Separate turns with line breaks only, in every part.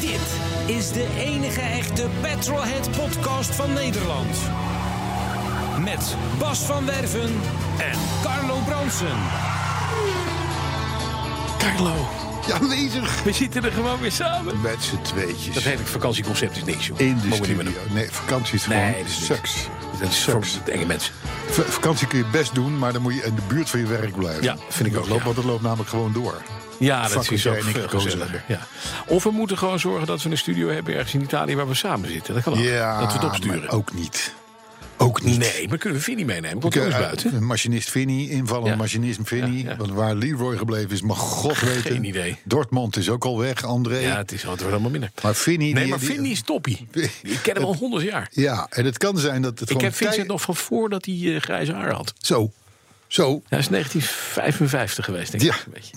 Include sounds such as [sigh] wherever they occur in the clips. Dit is de enige echte Petrolhead podcast van Nederland. Met Bas van Werven en Carlo Bronsen.
Carlo,
Ja, aanwezig.
we zitten er gewoon weer samen.
Met z'n tweetjes.
Dat hele vakantieconcept is niks, joh.
in
Mogen
de
we niet meer
studio.
doen.
Nee, vakantie is gewoon
Nee, dat is niks.
sucks.
Dat is
Sucks.
voor enge mensen.
V- vakantie kun je best doen, maar dan moet je in de buurt van je werk blijven.
Ja, vind ik ook,
Loopt,
ja.
Want dat loopt namelijk gewoon door.
Ja, dat
Fuck
is
wat
ook
jij en ik
veel
gekozen
gezelliger. Ja. Of we moeten gewoon zorgen dat we een studio hebben ergens in Italië waar we samen zitten. Dat kan ook.
Ja,
dat we het opsturen.
maar ook niet. Ook niet.
Nee, maar kunnen we Vinnie meenemen? Komt
Ik,
er eens
eh,
buiten.
Een machinist Vinnie, invallen
Ja.
machinist Vinnie.
Ja, ja.
Want waar Leroy gebleven is, mag
[laughs]
god weten.
idee.
Dortmund is ook al weg, André.
Ja, het, is, het wordt allemaal minder.
eh, Maar Vinnie...
nee,
die-
maar
[laughs] die-
Vinnie is toppie. Ik ken hem al honderd jaar.
Ja, en het kan zijn dat het
Ik
gewoon...
heb Vincent
tij-
nog van voordat hij eh, grijze haar had.
Zo, zo.
Hij is 1955 geweest, denk ik.
Ja.
Een beetje.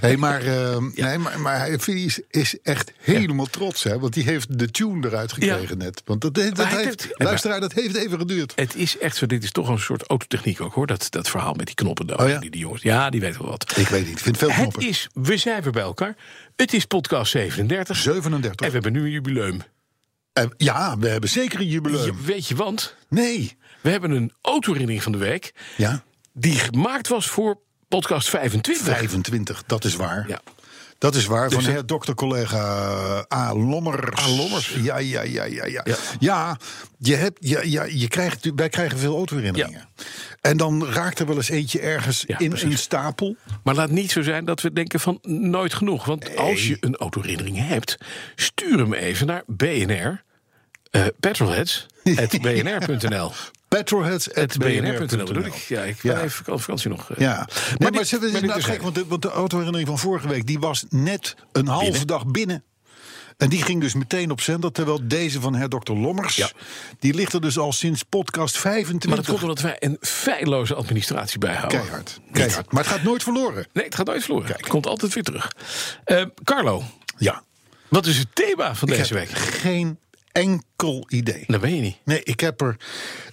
Nee, maar, ehm nee, maar, maar hij- Vinnie is, is echt helemaal trots, hè? Want die heeft de tune eruit gekregen
Ja.
net. Want dat, dat,
Maar hij
heeft,
heeft-
luisteraar, dat heeft even geduurd.
Het is echt zo, dit is toch een soort autotechniek ook hoor. Dat, dat verhaal met die knoppen daar.
Oh ja?
Die, die jongens, ja, die weten wel wat.
Ik weet niet, ik vind veel
Het
knoppen.
is, we zijn weer bij elkaar. Het is podcast 37.
37.
En we hebben nu een jubileum.
Eh, ja, we hebben zeker een jubileum.
Je- weet je, want
Nee.
we hebben een autorinning van de week.
Ja,
Die gemaakt was voor podcast 25.
25, dat is waar.
Ja. Dus
Dat is waar, van
het-
her dokter-collega eh, A. Lommers.
A. Lommers.
Ja, ja, ja, ja. Ja,
Ja.
ja. je hebt, ja, ja je krijgt, wij krijgen veel autoherinneringen. En dan raakt er wel eens eentje ergens
Ja,
in
precies.
een stapel.
Maar laat niet zo zijn dat we denken van nooit genoeg. Want als je een autorinning hebt, stuur hem even naar BNR. eh
[laughs]
petrolheads.bnr.nl
Petrolheads.bnr.nl.
BNR.nl bedoel ik. Ja, ik ben
Ja.
even op vakantie nog. eh.
Ja, nee, maar,
dit-
ze-
maar
het is
dit
nou
is
gek,
het.
want de, want de autoherinnering van vorige week... die was net een halve
Binnen.
dag binnen. En die ging dus meteen op zender. Terwijl deze van her dokter Lommers...
Ja.
die ligt er dus al sinds podcast
Maar dat
25.
komt omdat wij een feilloze administratie bijhouden.
keihard, keihard. Maar het gaat nooit verloren.
Nee, het gaat nooit verloren. Het komt altijd weer terug. Eh, Carlo,
Ja,
wat is het thema van deze
ik heb
week?
geen enkel idee.
Dat weet je niet.
Nee, ik heb er.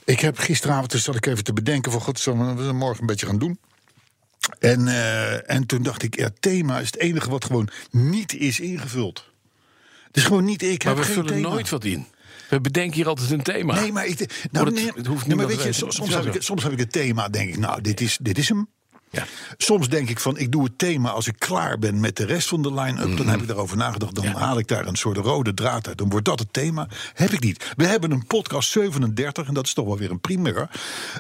Ik heb gisteravond, dus zat ik even te bedenken: van god, zullen we dat morgen een beetje gaan doen? En, eh, en toen dacht ik, ja, thema is het enige wat gewoon niet is ingevuld. Het is gewoon niet, ik
Maar
heb
we
geen
vullen
thema.
nooit wat in. We bedenken hier altijd een thema.
Nee, maar ik,
Maar
nou,
het-
nee,
het hoeft
nee,
niet
maar
dat
weet
wij-
je, soms,
het
soms heb
wel
ik, soms heb ik het thema, denk ik, nou, dit is, dit is hem.
Ja.
Soms denk ik van, ik doe het thema als ik klaar ben met de rest van de line-up.
Mhm.
Dan heb ik daarover nagedacht. Dan haal ik daar een soort rode draad uit. Dan wordt dat het thema. Heb ik niet. We hebben een podcast 37, en dat is toch wel weer een primeur.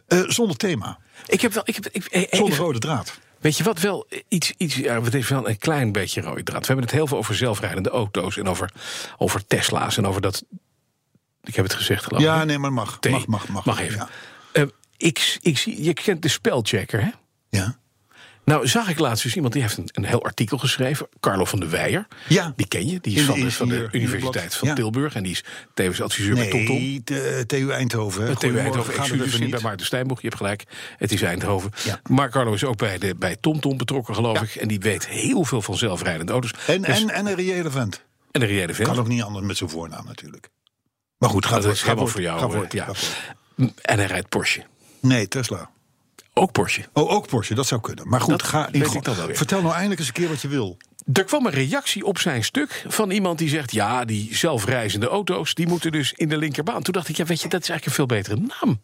eh, zonder thema.
Ik heb wel. Ik heb, ik, eh, eh,
Zonder rode draad.
Weet je wat wel? eh, Iets, iets, ja, het is wel een klein beetje rode draad. We hebben het heel veel over zelfrijdende auto's en over, over Tesla's en over dat. Ik heb het gezegd, geloof ik.
Ja, nee, maar mag.
Thee.
Mag, mag, mag.
Mag even.
Ja.
Eh, ik, ik zie, je kent de spelchecker, hè?
Ja.
Nou, zag ik laatst dus iemand die heeft een, een heel artikel geschreven. Carlo van de Weijer.
Ja.
Die ken je. Die
In
is
de
van de, van de
ingenieur-
Universiteit van
Ja.
Tilburg. En die is tevens adviseur bij TomTom.
Nee, de, TU Eindhoven. hè.
TU
Goedemorgen,
Eindhoven,
gaan we
excuses,
even
niet bij
niet.
Maarten Stijnboeg, je hebt gelijk. Het is Eindhoven.
Ja.
Maar Carlo is ook bij, de, bij TomTom betrokken, geloof ik. En die weet heel veel van zelfrijdende auto's.
En,
Dus-
en, en een reële vent.
en de reële vent.
Kan ook niet anders met zijn voornaam natuurlijk. Maar goed, gaat
Dat is helemaal voor jou.
Ga
eh,
voort,
ja.
ga voort.
En hij rijdt Porsche.
Nee, Tesla.
Ook Porsche.
Oh, ook Porsche, dat zou kunnen. Maar goed,
Dat
ga
weet
in gang.
ik dan wel weer.
Vertel nou eindelijk eens een keer wat je wil.
Er kwam een reactie op zijn stuk van iemand die zegt... ja, die zelfreizende auto's, die moeten dus in de linkerbaan. Toen dacht ik, ja, weet je, dat is eigenlijk een veel betere naam.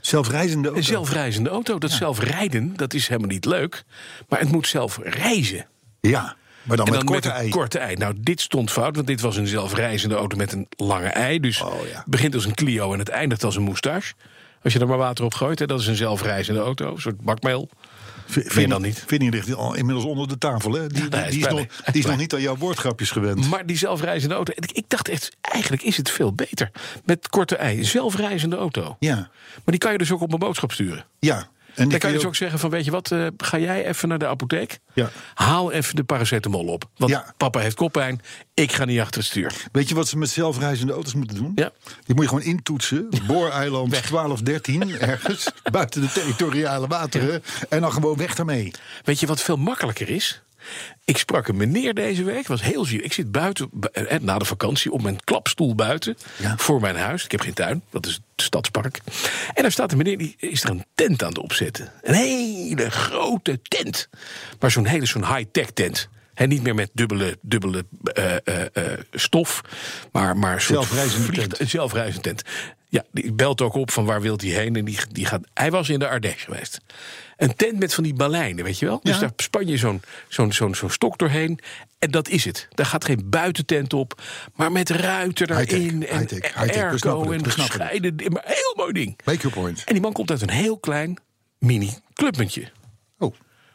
Zelfrijdende auto.
Een zelfreizende auto, dat zelfrijden, dat is helemaal niet leuk. Maar het moet zelf reizen.
Ja, maar dan,
En
met
dan
korte
met een
ei.
korte ei. Nou, dit stond fout, want dit was een zelfreizende auto met een lange ei. Dus
Oh, ja.
het begint als een Clio en het eindigt als een moustache. Als je er maar water op gooit, hè, dat is een zelfreizende auto. Een soort bakmeel.
Vind
Meer dan niet.
Vinnie ligt al inmiddels onder de tafel. Hè? Die,
hij
die,
is
die is
blij.
nog,
Hij is
die is
blij.
nog niet aan jouw woordgrapjes gewend.
Maar die zelfreizende auto, ik ik dacht echt, eigenlijk is het veel beter. Met korte ei, een zelfreizende auto.
Ja,
Maar die kan je dus ook op een boodschap sturen.
ja. die
dan kan
kun je
je dus
ook-
ook zeggen van, weet je wat, eh, ga jij even naar de apotheek.
Ja.
Haal even de paracetamol op. Want
Ja.
papa heeft koppijn, ik ga niet achter het stuur.
Weet je wat ze met zelfreizende auto's moeten doen?
Ja.
Die moet je gewoon
[laughs]
intoetsen. Booreiland 1213 ergens. buiten de territoriale wateren. En dan gewoon weg daarmee.
Weet je wat veel makkelijker is? Ik sprak een meneer deze week, was heel ziek. Ik zit buiten, bu- eh, na de vakantie, op mijn klapstoel buiten.
Ja.
Voor mijn huis. Ik heb geen tuin, dat is het stadspark. En daar staat een meneer, die is er een tent aan het opzetten. Een hele grote tent. Maar zo'n hele zo'n high-tech tent. En niet meer met dubbele, dubbele eh, eh, eh, stof, maar, maar een soort
Zelfrijzende
vliegtu-
tent.
Een zelfrijzende tent. Ja, die belt ook op van waar wilt hij heen. En die, die gaat, hij was in de Ardèche geweest. Een tent met van die baleinen, weet je wel? Dus
Ja.
daar span je zo'n zo'n zo'n zo'n stok doorheen. En dat is het. Daar gaat geen buitentent op, maar met ruiten
High-tech,
erin. En
high-tech, high-tech. We snappen
airco
het,
en
we snappen het.
gescheiden. Maar een heel mooi ding.
Make your point.
En die man komt uit een heel klein mini-clubmuntje.
Oh.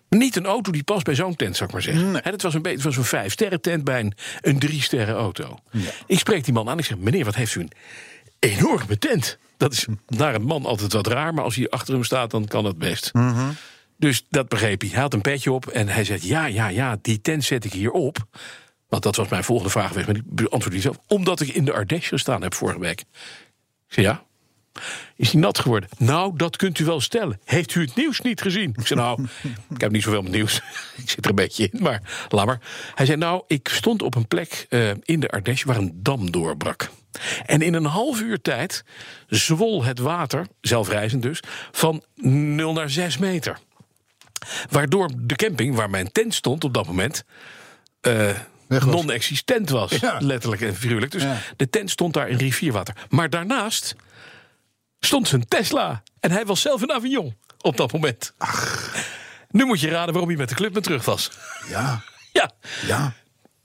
Niet een auto die past bij zo'n tent, zou ik maar zeggen. Hè, Het was een beetje het was een vijf sterren tent bij een, een drie sterren auto. Ik spreek die man aan. Ik zeg: meneer, wat heeft u een enorme tent? Dat is naar een man altijd wat raar, maar als hij achter hem staat, dan kan dat best. Dus dat begreep hij. Hij had een petje op en hij zei: ja, ja, ja, die tent zet ik hier op. Want dat was mijn volgende vraag geweest, maar die beantwoordde hij zelf. Omdat ik in de Ardèche gestaan heb vorige week. Ik zei: ja, is hij nat geworden? Nou, dat kunt u wel stellen. Heeft u het nieuws niet gezien? Ik zei, nou, ik heb niet zoveel met nieuws. [laughs] ik zit er een beetje in, maar laat maar. Hij zei, nou, ik stond op een plek eh, in de Ardèche waar een dam doorbrak. En in een half uur tijd zwol het water, zelfrijzend dus, van 0 naar 6 meter. Waardoor de camping waar mijn tent stond op dat moment... eh,
Weg was.
non-existent was,
Ja.
letterlijk en figuurlijk. Dus
Ja.
de tent stond daar in rivierwater. Maar daarnaast stond zijn Tesla. En hij was zelf een Avignon op dat moment. Nu moet je raden waarom hij met de club weer terug was.
Ja.
ja,
Ja.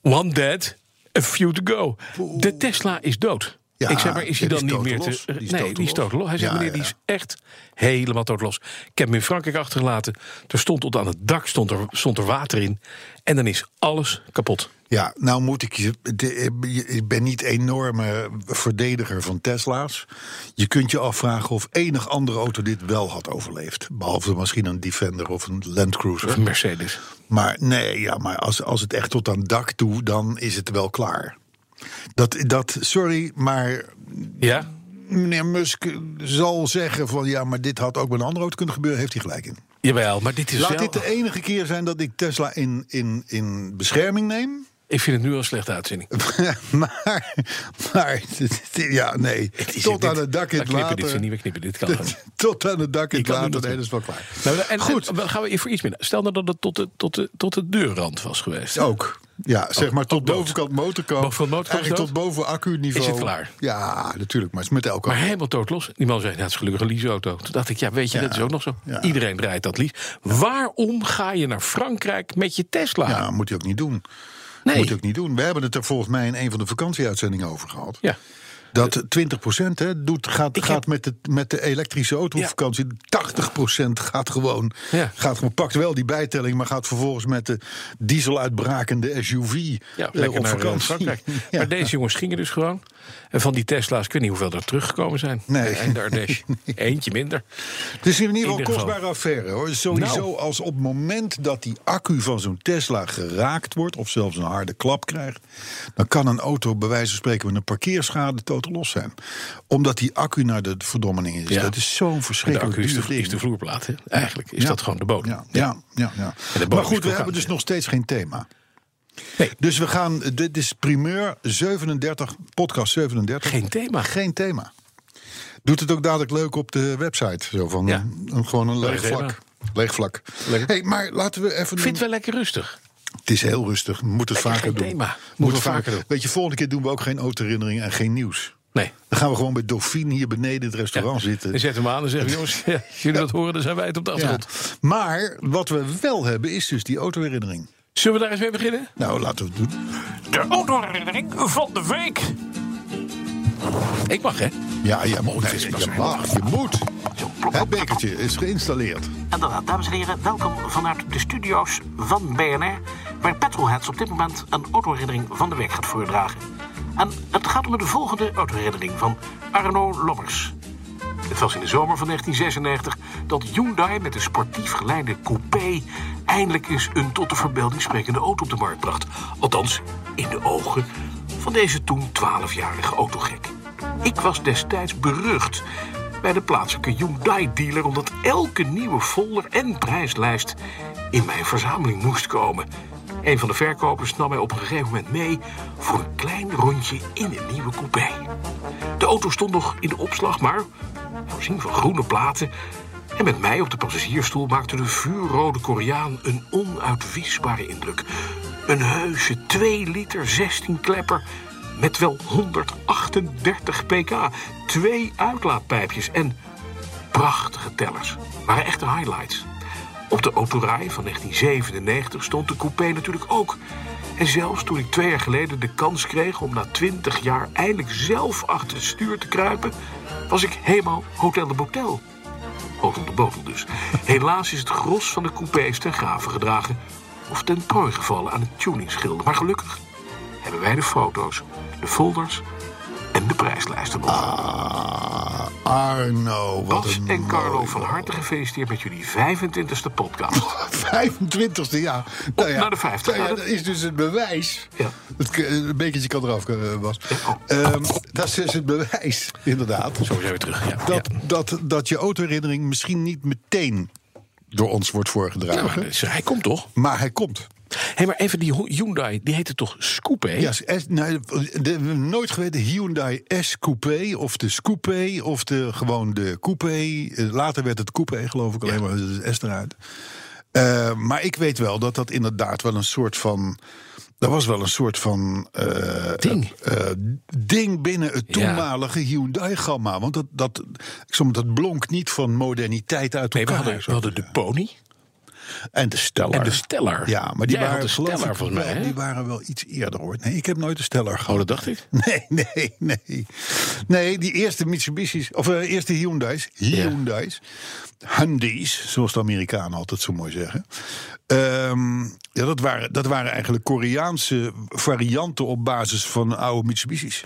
one dead, a few to go. De Tesla is dood.
Ja,
ik zeg maar, is
ja,
hij dan
die is
niet meer
doodlos.
te...
Die is
nee, die
doodlos.
is doodlos. Hij zegt,
Ja,
meneer,
ja.
die is echt helemaal doodlos. Ik heb hem in Frankrijk achtergelaten. Er stond tot aan het dak stond er, stond er water in. En dan is alles kapot.
Ja, nou moet ik je. de- Ik ben niet enorme verdediger van Tesla's. Je kunt je afvragen of enig andere auto dit wel had overleefd. Behalve misschien een Defender of een Land Cruiser.
Mercedes.
Maar nee, ja, maar als, als het echt tot aan het dak toe, dan is het wel klaar. Dat, dat, sorry, maar
Ja?
meneer Musk zal zeggen van ja, maar dit had ook bij een andere auto kunnen gebeuren, heeft hij gelijk in.
Jawel, maar dit is
Laat
wel...
dit de enige keer zijn dat ik Tesla in, in, in bescherming neem.
Ik vind het nu al een slechte uitzending.
[laughs] maar, maar, [laughs] ja, nee.
Het is
Tot
dit-
aan het dak in
we
het
knippen dit,
water.
Cindy, we knippen dit, kan gewoon niet.
[laughs] Tot aan het dak in
Je
het
kan nu
water,
dat
nee,
doen.
dat is wel klaar.
Nou, en,
Goed.
Goed. gaan we even voor iets minder. Stel nou dat het tot de, tot de, tot de deurrand was geweest.
Ook. Ja, zeg maar
ook
tot
Oh, dood.
bovenkant motorkap.
Bovenkant motorkap is
Eigenlijk tot boven accu-niveau.
Is het klaar?
Ja, natuurlijk, maar het is met elke
Maar helemaal doodlos. Die man zei, nou, het is gelukkig een leaseauto. Toen dacht ik, ja, weet je, dat is ook nog zo.
Ja.
Iedereen rijdt dat lease. Waarom ga je naar Frankrijk met je Tesla?
Ja, moet je ook niet doen.
Nee.
Moet je ook niet doen. We hebben het er volgens mij in een van de vakantieuitzendingen over gehad.
Ja.
Dat 20% hè, doet, gaat,
Ik
gaat
heb-
met, de, met de elektrische auto op
Ja.
vakantie. 80% gaat gewoon,
Ja.
gaat gewoon, pakt wel die bijtelling, maar gaat vervolgens met de diesel uitbrakende SUV
Ja,
eh,
lekker
op
naar eh,
vakantie.
Frankrijk.
[laughs] Ja.
Maar deze jongens gingen dus gewoon. En van die Tesla's, ik weet niet hoeveel er teruggekomen zijn. Eh,
Nee.
En de
[laughs]
Ardèche. Eentje minder.
Dus Het is in ieder geval een
ieder geval.
kostbare affaire hoor. Sowieso
Nou.
als op het moment dat die accu van zo'n Tesla geraakt wordt, of zelfs een harde klap krijgt, dan kan een auto bij wijze van spreken met een parkeerschade totaal los zijn. Omdat die accu naar de verdommening is.
Ja.
Dat is zo'n
De
verschrikkelijk
accu is
duur
de, is
ding.
de vloerplaat. Hè? Eigenlijk is
Ja.
dat gewoon de bodem.
Ja, ja, ja. ja.
bodem
Maar
is
goed, we
vulkaan,
hebben dus
ja.
nog steeds geen thema.
Nee.
Dus we gaan, dit is primeur 37, podcast 37.
Geen thema.
Geen thema. Doet het ook dadelijk leuk op de website. Zo van,
Ja.
een- een- gewoon een leeg
Leeg thema.
vlak. Leeg vlak.
Lekker.
Hey, maar laten we even...
Ik vind het wel lekker rustig.
Het is heel rustig. We moeten het
Lekker,
vaker
geen
doen.
thema.
We
Moeten
moeten
we
vaak-
vaker doen.
Weet je, volgende keer doen we ook geen autoherinnering en geen nieuws.
Nee.
Dan gaan we gewoon bij Dauphine hier beneden in het restaurant zitten.
En zet hem aan en
[laughs]
zeg, jongens, ja, als jullie dat horen, dan zijn wij het op de
Ja.
achtergrond.
Maar wat we wel hebben is dus die autoherinnering.
Zullen we daar eens mee beginnen?
Nou, laten we het doen.
De autoherinnering van de week.
Ik mag, hè?
Ja, ja, moet.
is
Nee,
pas
je
een-
mag, je moet. Het bekertje is geïnstalleerd.
Inderdaad, dames en heren, welkom vanuit de studio's van BNR, waar Petrolheads op dit moment een autoherinnering van de week gaat voordragen. En het gaat om de volgende autoherinnering van Arno Lommers. Het was in de zomer van 1996 dat Hyundai met een sportief geleide coupé eindelijk eens een tot de verbeelding sprekende auto op de markt bracht. Althans, in de ogen van deze toen 12-jarige autogek. Ik was destijds berucht bij de plaatselijke Hyundai-dealer omdat elke nieuwe folder en prijslijst in mijn verzameling moest komen. Een van de verkopers nam mij op een gegeven moment mee voor een klein rondje in een nieuwe coupé. De auto stond nog in de opslag, maar voorzien van groene platen. En met mij op de passagiersstoel maakte de vuurrode Koreaan een onuitwisbare indruk. Een heuse 2 liter 16 klepper met wel 138 pk, twee uitlaatpijpjes en prachtige tellers. Waren echte highlights. Op de autorij van 1997 stond de coupé natuurlijk ook. En zelfs toen ik twee jaar geleden de kans kreeg om na 20 jaar eindelijk zelf achter het stuur te kruipen, was ik helemaal Hotel de Botel. Hotel de Botel dus. Helaas is het gros van de coupés ten graven gedragen of ten prooi gevallen aan het tuningsgilde. Maar gelukkig hebben wij de foto's, de folders en de prijslijsten nog.
Ah, Arno, wat
Bas
een
en Carlo,
mooi-
van harte gefeliciteerd met jullie 25e podcast.
[laughs] 25e jaar. Nou
naar de 50.
nou ja, dat is dus het bewijs.
Ja.
Het k- een bekertje kan eraf, eh, Bas. Ehm, dat is dus het bewijs, inderdaad.
Zo zijn we terug. Ja.
Dat,
Ja.
dat, dat je autoherinnering misschien niet meteen door ons wordt
Ja, maar
voorgedragen.
dus hij komt toch?
maar hij komt.
Hé, maar even die Ho- Hyundai, die heette toch Scoopé?
Ja, S- S- nou, de- de- nooit geweten Hyundai S Coupé of de Scoopé of de, gewoon de Coupé. Eh, Later werd het Coupé, geloof ik, alleen maar de S eruit. Eh, maar ik weet wel dat dat inderdaad wel een soort van. Dat was wel een soort van eh,
Ding.
eh, ding binnen het toenmalige Hyundai-gamma. Want dat, dat, ik zeg maar, dat blonk niet van moderniteit uit
Nee, we
elkaar.
hadden, we hadden de Pony
En de Stellar.
en de Stellar.
Ja, maar die
Jij
waren,
had de
geloof
Stellar
ik
volgens mij,
wel,
hè?
die waren wel iets eerder hoor. Nee, ik heb nooit de Stellar gehad.
Oh, dat dacht ik.
[laughs] Nee, nee, nee. Nee, die eerste Mitsubishi's, of eh, eerste Hyundai's, Hyundai's, Hyundai's, zoals de Amerikanen altijd zo mooi zeggen. Ehm, ja, dat waren, dat waren eigenlijk Koreaanse varianten op basis van oude Mitsubishi's.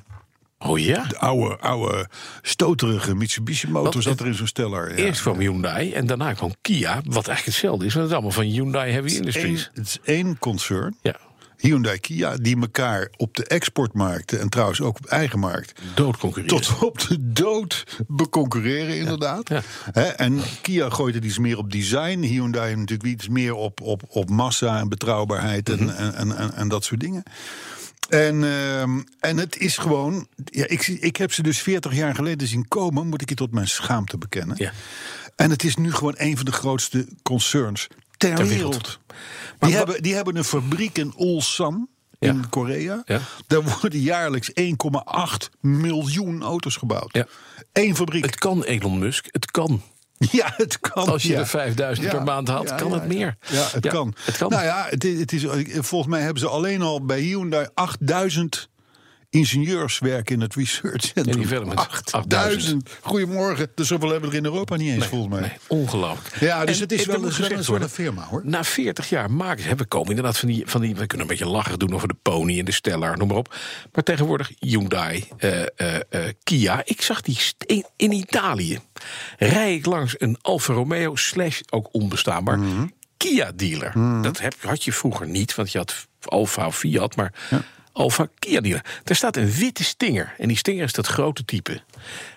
Oh ja?
De oude, oude stoterige Mitsubishi motor
Want
zat
het-
er in zo'n steller. Ja.
Eerst kwam Hyundai en daarna kwam Kia, wat eigenlijk hetzelfde is. Want het is allemaal van Hyundai Heavy
Eén-
Industries.
het is één concern.
Ja,
Hyundai Kia, die elkaar op de exportmarkten en trouwens ook op eigen markt
doodconcurreren.
tot op de dood beconcurreren, inderdaad.
ja.
Hè, en Kia gooit het iets meer op design. Hyundai natuurlijk iets meer op, op, op massa en betrouwbaarheid
Mhm.
en, en, en, en, en dat soort dingen. En, ehm, en het is gewoon. Ja, ik, zie- ik heb ze dus 40 jaar geleden zien komen, moet ik je tot mijn schaamte bekennen.
Ja.
En het is nu gewoon een van de grootste concerns ter,
Ter wereld.
wereld.
Maar
Die,
wa-
hebben, die hebben een fabriek in Ulsan.
Ja.
In Korea.
Ja.
Daar worden jaarlijks 1,8 miljoen auto's gebouwd.
Ja.
Eén fabriek.
Het kan, Elon Musk, het kan.
[laughs] ja, het kan.
Als je
ja.
er 5000 per maand haalt, kan het meer.
Ja, het
Ja,
kan.
het kan.
Nou ja, het, is- het is, volgens mij hebben ze alleen al bij Hyundai 8000 ingenieurs werken in het research centrum.
development.
8000. Goedemorgen. Dus zoveel hebben we er in Europa niet eens, volgens mij.
Nee, ongelooflijk.
Ja, dus
En-
het is
en
wel
er moet
een- wel een-
gezegd
wel een
worden,
firma, hoor.
Na 40 jaar maken ze, hè, we komen inderdaad van die, van die... We kunnen een beetje lachen doen over de pony en de Stellar, noem maar op. Maar tegenwoordig Hyundai, eh, eh, eh, Kia. Ik zag die st- in, in Italië. Rij ik langs een Alfa Romeo slash ook onbestaanbaar Kia-dealer. Dat heb, had je vroeger niet, want je had Alfa of Fiat, maar... Alfa Kia dealer. Daar staat een witte stinger. En die stinger is dat grote type.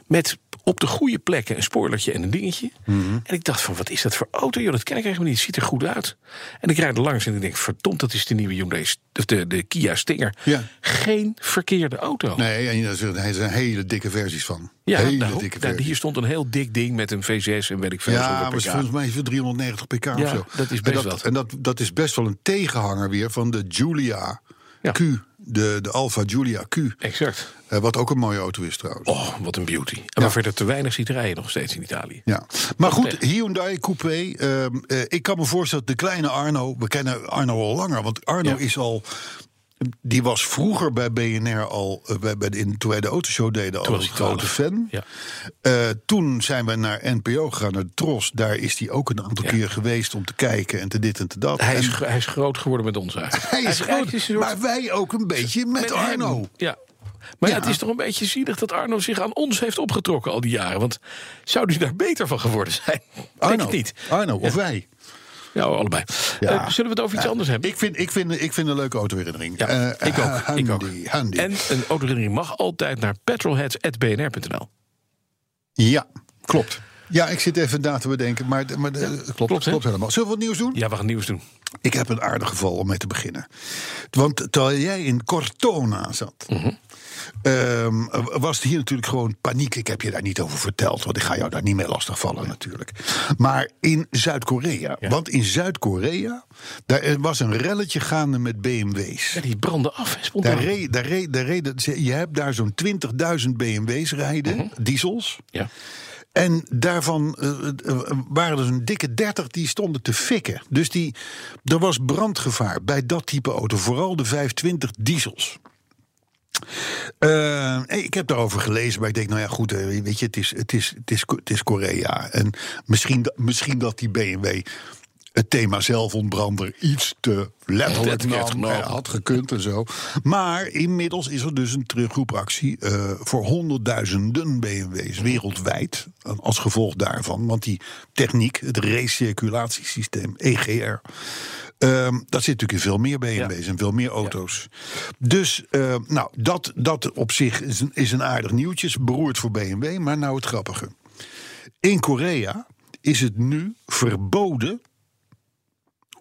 Met op de goede plekken een spoilertje en een dingetje. En ik dacht van, wat is dat voor auto? Joh, dat ken ik eigenlijk niet. Het ziet er goed uit. En ik rijd er langs en ik denk, verdomd, dat is de nieuwe Hyundai... St- of de, de Kia Stinger.
Ja.
Geen verkeerde auto.
Nee, en er zijn- er zijn hele dikke versies van.
Ja,
hele
daar- daar- hier stond een heel dik ding met een V6 en weet ik veel.
Ja, maar
zoveel
het is
pk.
volgens mij is het 390 pk
Ja,
of zo.
dat is
en
best
dat,
wat.
En dat, dat is best wel een tegenhanger weer van de Giulia
Ja.
Q. De, de Alfa Giulia Q.
Exact.
Eh, wat ook een mooie auto is trouwens.
Oh, wat een beauty. En maar verder te weinig ziet rijden nog steeds in Italië.
Ja. Maar goed, Hyundai Coupé. ehm, eh, ik kan me voorstellen, dat de kleine Arno... We kennen Arno al langer, want Arno
Ja.
is al... Die was vroeger bij BNR al, eh, bij, bij de, in, toen wij de autoshow deden, al
was
een
hij
grote fan.
Ja.
Eh, toen zijn we naar NPO gegaan, naar de Tros. Daar is hij ook een aantal
Ja.
keer geweest om te kijken en te dit en te dat.
Hij
En-
is, gro- hij is groot geworden met ons eigenlijk.
[laughs] Hij is
eigenlijk
groot,
een soort-
maar wij ook een beetje met,
met hem.
Arno.
Ja. Maar ja, het is toch een beetje zielig dat Arno zich aan ons heeft opgetrokken al die jaren. Want zou hij daar beter van geworden zijn? Denk
Arno,
het niet.
Arno of wij.
Ja, allebei.
Ja.
Eh, zullen we het over iets anders hebben?
Ik vind, ik, vind, ik vind een leuke autoherinnering.
Ja,
Eh,
ik ook,
Handy,
ik ook.
handy.
En een autoherinnering mag altijd naar petrolheads.bnr.nl.
Ja, klopt. Ja, ik zit even na te bedenken, maar, maar eh, klopt,
klopt,
klopt,
hè?
helemaal. Zullen we wat nieuws doen?
Ja, we gaan nieuws doen.
Ik heb een aardig geval om mee te beginnen. Want terwijl jij in Cortona zat, ehm, was het hier natuurlijk gewoon paniek. Ik heb je daar niet over verteld, want ik ga jou daar niet mee lastigvallen natuurlijk. Maar in Zuid-Korea, want in Zuid-Korea, daar eh, was een relletje gaande met BMW's.
Ja, die branden af. hè, Spontaan.
Daar reed, daar reed, daar reed, ze- je hebt daar zo'n 20.000 BMW's rijden, diesels.
Ja.
En daarvan eh, eh, waren er een dikke 30 die stonden te fikken. Dus die, er was brandgevaar bij dat type auto. Vooral de 520 diesels. Eh, ik heb daarover gelezen, maar ik denk, nou ja, goed, eh, weet je, het is, het is, het is, Ko- het is Korea. En misschien, da- misschien dat die BMW het thema zelfontbrander iets te letterlijk
Letterlijk
nam,
genomen.
eh, had gekund en zo. Maar inmiddels is er dus een terugroepactie eh, voor honderdduizenden BMW's wereldwijd. eh, Als gevolg daarvan, want die techniek, het recirculatiesysteem, E EGR... Ehm, dat zit natuurlijk in veel meer BMW's en veel meer auto's. Dus eh, nou, dat, dat op zich is een, is een aardig nieuwtje. Beroerd voor BMW, maar nou het grappige. In Korea is het nu verboden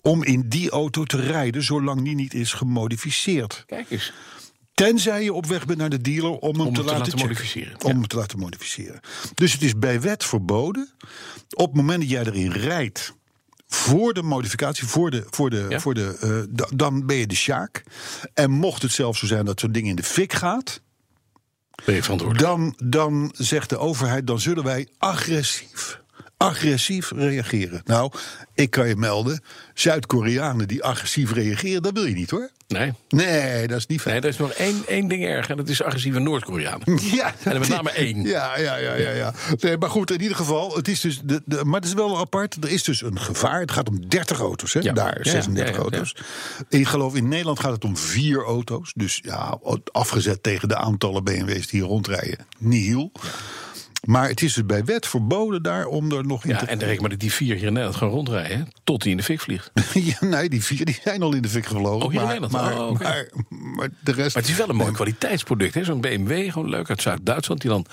om in die auto te rijden... zolang die niet is gemodificeerd.
Kijk eens.
Tenzij je op weg bent naar de dealer om hem
Om hem
te,
te
laten,
laten
checken.
modificeren,
Om hem te laten modificeren. Dus het is bij wet verboden. Op het moment dat jij erin rijdt. Voor de modificatie, voor de, voor de,
Ja.
voor de, eh, da- dan ben je de sjaak. En mocht het zelfs zo zijn dat zo'n ding in de fik gaat,
Ben je verantwoordelijk?
dan, dan zegt de overheid: dan zullen wij agressief, agressief reageren. Nou, ik kan je melden: Zuid-Koreanen die agressief reageren, dat wil je niet hoor.
Nee.
Nee, dat is niet fijn.
Nee, er is nog één, één ding erg. En dat is agressieve Noord-Koreanen.
[laughs] Ja,
En met name één.
Ja, ja, ja, ja. ja. Nee, maar goed, in ieder geval, het is dus. De, de, maar het is wel apart. Er is dus een gevaar. Het gaat om 30 auto's, hè?
Ja.
Daar,
Ja,
36
ja, ja, ja.
auto's. Ik geloof in Nederland gaat het om vier auto's. Dus ja, afgezet tegen de aantallen BMW's die hier rondrijden. Nihil. Maar het is dus bij wet verboden daar om er nog in
Ja,
te
en reken maar dat die vier hier in Nederland gewoon rondrijden. hè, Tot die in de fik vliegt. Maar
[laughs] Ja, nee, die vier die zijn al in de fik gevlogen.
Oh, hier in
maar,
Nederland.
maar,
Oh, oké.
maar, maar de rest.
het is wel een mooi kwaliteitsproduct. hè? Zo'n BMW, gewoon leuk uit Zuid-Duitsland. Die dan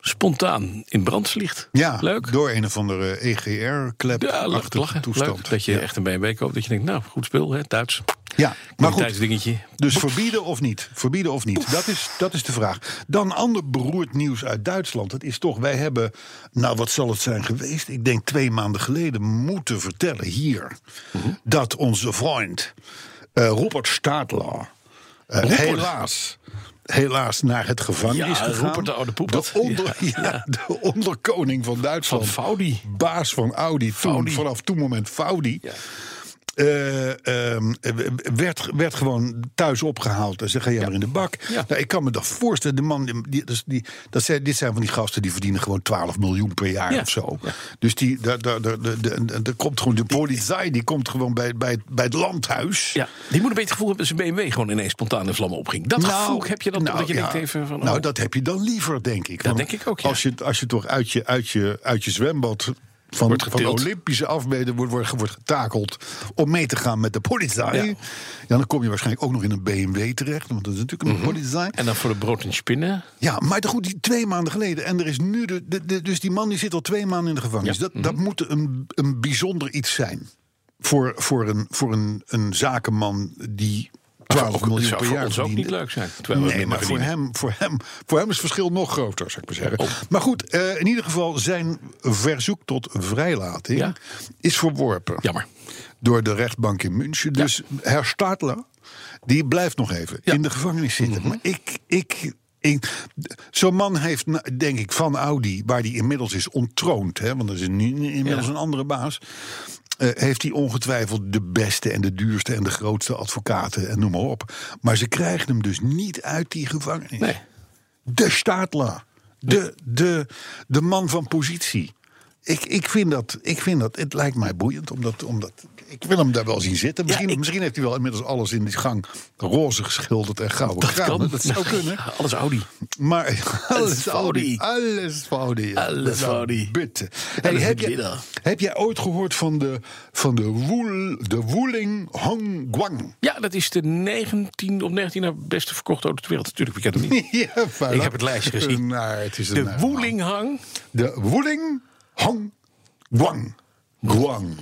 spontaan in brand vliegt.
Ja,
leuk.
door een of andere E EGR-klep.
Ja, lach, lachen.
toestand.
Leuk dat je
Ja.
echt een BMW koopt. Dat je denkt, nou, goed spul, hè, Duits.
Ja, maar goed.
Kwaliteitsdingetje.
Dus verbieden of niet? Verbieden of niet? Dat is, dat is de vraag. Dan ander beroerd nieuws uit Duitsland. Het is toch, wij hebben, nou wat zal het zijn geweest? Ik denk twee maanden geleden moeten vertellen hier dat onze vriend eh Robert Stadler eh, helaas. Helaas naar het gevangenis
Ja,
gegaan.
Robert de oude poepert.
De, onder, [laughs] ja, de onderkoning van Duitsland.
Van Faudi.
Baas van Audi. Toen,
Faudi.
Vanaf toen moment Faudi. Eh, ehm, werd, werd gewoon thuis opgehaald. En ze gaan jij maar in de bak.
Ja.
Nou, ik kan me dat voorstellen. De man, die, die- dus die, dat zijn, dit zijn van die gasten die verdienen gewoon 12 miljoen per jaar
Ja.
of zo. Dus die, daar, daar, daar, daar- daar- daar- daar komt gewoon de politie, die komt gewoon bij, bij, bij het landhuis.
Ja, die moet een beetje het gevoel hebben dat zijn BMW gewoon ineens spontaan in vlammen opging. Dat gevoel heb je dan,
nou,
dat je
ja.
denkt even van...
Nou,
oh,
dat heb je dan liever, denk ik.
Dat denk ik ook, ja.
Als je, als je toch uit je, uit je, uit je zwembad van,
Wordt
van
getild.
Olympische afmeten wordt, wordt, wordt getakeld... om mee te gaan met de politie...
Ja.
Ja, dan kom je waarschijnlijk ook nog in een BMW terecht. Want dat is natuurlijk een politie.
Mhm. En dan voor de brood en spinnen.
Ja, maar goed, die twee maanden geleden. En er is nu de, de- de- dus die man die zit al twee maanden in de gevangenis. Dat,
Mhm.
dat moet een, een bijzonder iets zijn. Voor, voor, een, voor een, een zakenman die 12
Ook-
miljoen
zou
per
voor
jaar
ons ook
verdient.
niet leuk zijn. Terwijl we
nee,
minder
maar voor
verdienen. oh.
hem, voor, hem, voor hem is het verschil nog groter, zou ik maar zeggen. Maar goed, eh, in ieder geval zijn verzoek tot vrijlating
Ja.
is verworpen
Jammer.
door de rechtbank in München. Dus Herr Stadler, die blijft nog even in de gevangenis zitten.
Mhm.
Maar ik, ik, ik- zo'n man heeft, na- denk ik, van Audi, waar die inmiddels is ontroond, hè, want er is nu inmiddels
Ja.
een andere baas. eh, heeft hij ongetwijfeld de beste en de duurste en de grootste advocaten en noem maar op. Maar ze krijgen hem dus niet uit die gevangenis.
Nee.
De Stadler. De, de, de man van positie. Ik, ik, vind dat, ik vind dat, het lijkt mij boeiend, omdat, omdat ik wil hem daar wel zien zitten. Misschien,
ik-
misschien heeft hij wel inmiddels alles in die gang roze geschilderd en gouden dat
Kan.
Dat zou kunnen.
Ja, [laughs] alles Audi.
Maar alles
Audi.
Audi. Alles Audi.
Alles Audi.
Bitte. Hey,
Alles
heb, jij,
bitte.
heb jij ooit gehoord van de, van de, woel, de Woeling Hong Guang? [laughs]
Ja, dat is de 19 op 19 na nou, beste verkochte auto ter wereld. Natuurlijk, ik ken hem niet.
[laughs] ja, vuil.
Ik heb het lijstje gezien.
Nou, het is een,
De
eh,
Woelinghang.
De Woeling Hong Guang. Guang.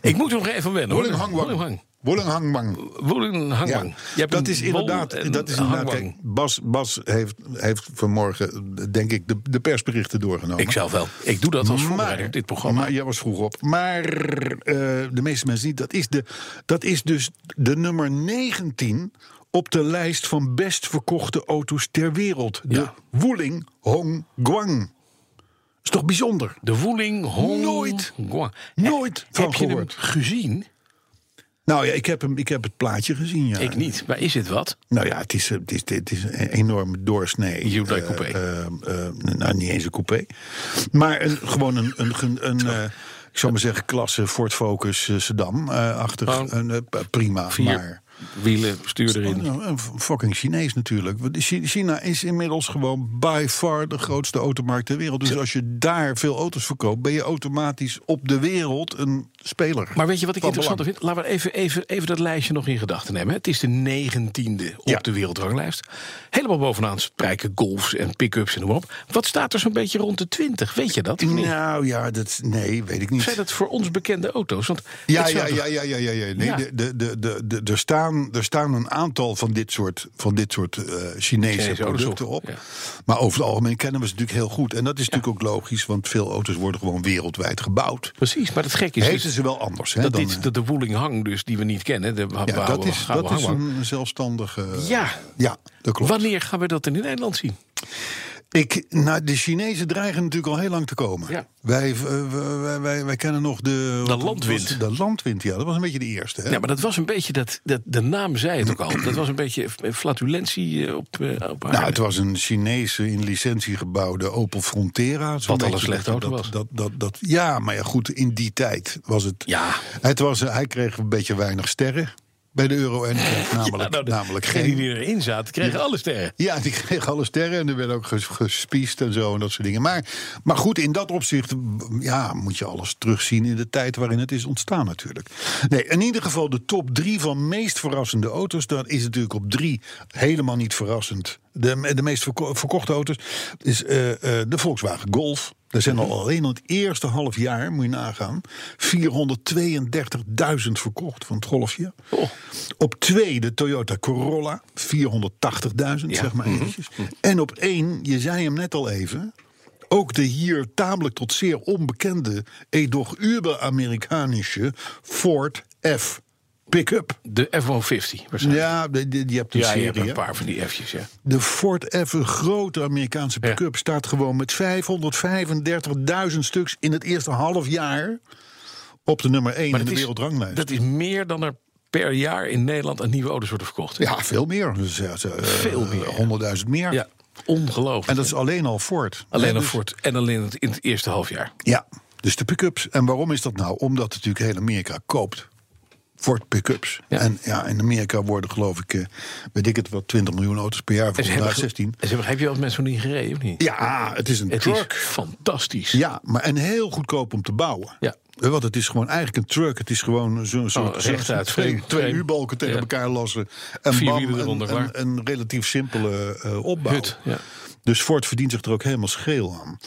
Ik moet er nog even wennen. hoor.
Woeling Hong Guang.
Woelinghang.
Woeling Hong Guang. Ja,
Woelinghang. Je hebt
dat
een
is
wol
inderdaad.
en
Dat is
een
inderdaad
hangwang.
kijk, Bas, Bas heeft, heeft vanmorgen, denk ik, de, de persberichten doorgenomen.
Ik zelf wel. Ik doe dat als voorbereider op dit programma.
Maar jij was vroeg op. Maar eh, de meeste mensen niet. Dat is, de, dat is dus de nummer 19 op de lijst van best verkochte auto's ter wereld. De
Ja.
Wuling Hong Guang. Is toch bijzonder?
De Woeling Hong
Nooit.
Guang.
Nooit van
Heb je hem
gehoord.
gezien?
Nou ja, ik heb, hem, ik heb het plaatje gezien. Ja.
Ik niet. Maar is het wat?
Nou ja, het is, eh, het is, het is een enorme doorsnee.
Hyundai
Eh,
coupé.
eh, eh, nou, niet eens een coupé. Maar een, gewoon een, een, een, een, eh, ik zou maar zeggen, klasse Ford Focus eh, sedan-achtig.
Oh.
prima,
Vier
maar...
wielen, stuur erin.
Oh, Een fucking Chinees natuurlijk. Want Chi- China is inmiddels gewoon by far de grootste automarkt ter wereld. Dus als je daar veel auto's verkoopt, ben je automatisch op de wereld een speler.
Maar weet je wat ik
Van
interessanter
belang.
vind? Laten we even, even, even dat lijstje nog in gedachten nemen. Het is de negentiende op
Ja.
de wereldranglijst. Helemaal bovenaan strijken golfs en pick-ups en noem maar op. Wat staat er zo'n beetje rond de 20? Weet je dat? of niet?
Nou ja, dat, nee, weet ik niet.
Zijn dat voor ons bekende auto's? Want
Ja,
het zou
ja,
toch-
ja, ja, ja, ja, ja. Nee,
Ja.
De, de, de, de, de- er, staan, er staan een aantal van dit soort, van dit soort eh, Chinese,
Chinese auto's
producten
op,
op.
ja.
Maar over het algemeen kennen we ze natuurlijk heel goed. En dat is natuurlijk ook logisch, want veel auto's worden gewoon wereldwijd gebouwd.
Precies, maar het gek is
Heten
dus
ze wel anders. Hè,
dat,
dan,
dit,
eh,
dat de Woeling Hang dus, die we niet kennen. De
ja, dat is, dat is een zelfstandige...
Ja.
ja dat klopt.
Wanneer gaan we dat in Nederland zien?
Ik, nou, de Chinezen dreigen natuurlijk al heel lang te komen.
Ja.
Wij, eh, wij, wij, wij kennen nog de... wat-
landwind.
wat- De landwind, ja. Dat was een beetje de eerste. Hè?
Ja, maar dat was een beetje, dat, dat, de naam zei het ook al. Dat was een beetje flatulentie eh, op, eh, op
Nou,
aarde.
het was een Chinese in licentie gebouwde Opel Frontera. zo'n
Wat al een
beetje
slechte
dat-
auto
dat-
was.
Dat, dat, dat, ja, maar ja, goed, in die tijd was het...
Ja.
Het was, eh, hij kreeg een beetje weinig sterren bij de
[laughs]
Euro en kreeg namelijk,
Ja, nou, de-
namelijk
degenen
geen...
die erin zaten, kregen alle sterren.
[laughs] Ja, die kreeg alle sterren en er werd ook ges- gespiest en zo en dat soort dingen. Maar, maar goed, in dat opzicht ja, moet je alles terugzien in de tijd waarin het is ontstaan natuurlijk. Nee, in ieder geval de top drie van meest verrassende auto's. Dat is natuurlijk op drie helemaal niet verrassend. De, de meest verko- verkochte auto's is eh, eh, de Volkswagen Golf. Er zijn al alleen in het eerste half jaar, moet je nagaan, 432.000 verkocht van het golfje. Op twee de Toyota Corolla, 480.000 zeg
Mhm.
maar eventjes. En op één, je zei hem net al even, ook de hier tamelijk tot zeer onbekende, edoch uber-Amerikanische Ford F pick-up.
De F-150 waarschijnlijk.
Ja, de- de- je hebt een
Ja, je
serie.
hebt een
hè?
paar van die F'jes, ja.
De Ford F, een grote Amerikaanse pick-up, staat gewoon met 535.000 stuks in het eerste half jaar op de nummer 1 in
dat
de
is-
wereldranglijst.
Dat is meer dan er per jaar in Nederland aan nieuwe auto's worden verkocht.
Ja, veel meer. Dus, ja, ze, eh,
Veel meer.
100.000 meer.
Ja, ongelooflijk.
En dat is alleen al Ford.
alleen
Ja,
op
dus-
Ford en alleen het- in het eerste halfjaar.
Ja, dus de pick-ups. En waarom is dat nou? Omdat natuurlijk heel Amerika koopt. Ford pick-ups.
Ja.
En ja, in Amerika worden geloof ik, eh, weet ik het wel, 20 miljoen auto's per jaar.
En
Voor
ze hebben,
16.
en ze hebben, heb je wel eens met zo'n ding gereden of niet?
Ja, het is een
het
truck.
is fantastisch.
Ja, maar en heel goedkoop om te bouwen.
Ja. Oh,
Eh, Want het is gewoon eigenlijk een truck. Het is gewoon zo'n soort
rechtuit,
twee,
frame,
twee
frame.
U-balken tegen
Ja.
elkaar lossen. En
Vier
bam,
wielen
een,
eronder,
een,
klaar.
een relatief simpele eh, opbouw.
Hut, ja.
Dus Ford verdient zich er ook helemaal scheel aan.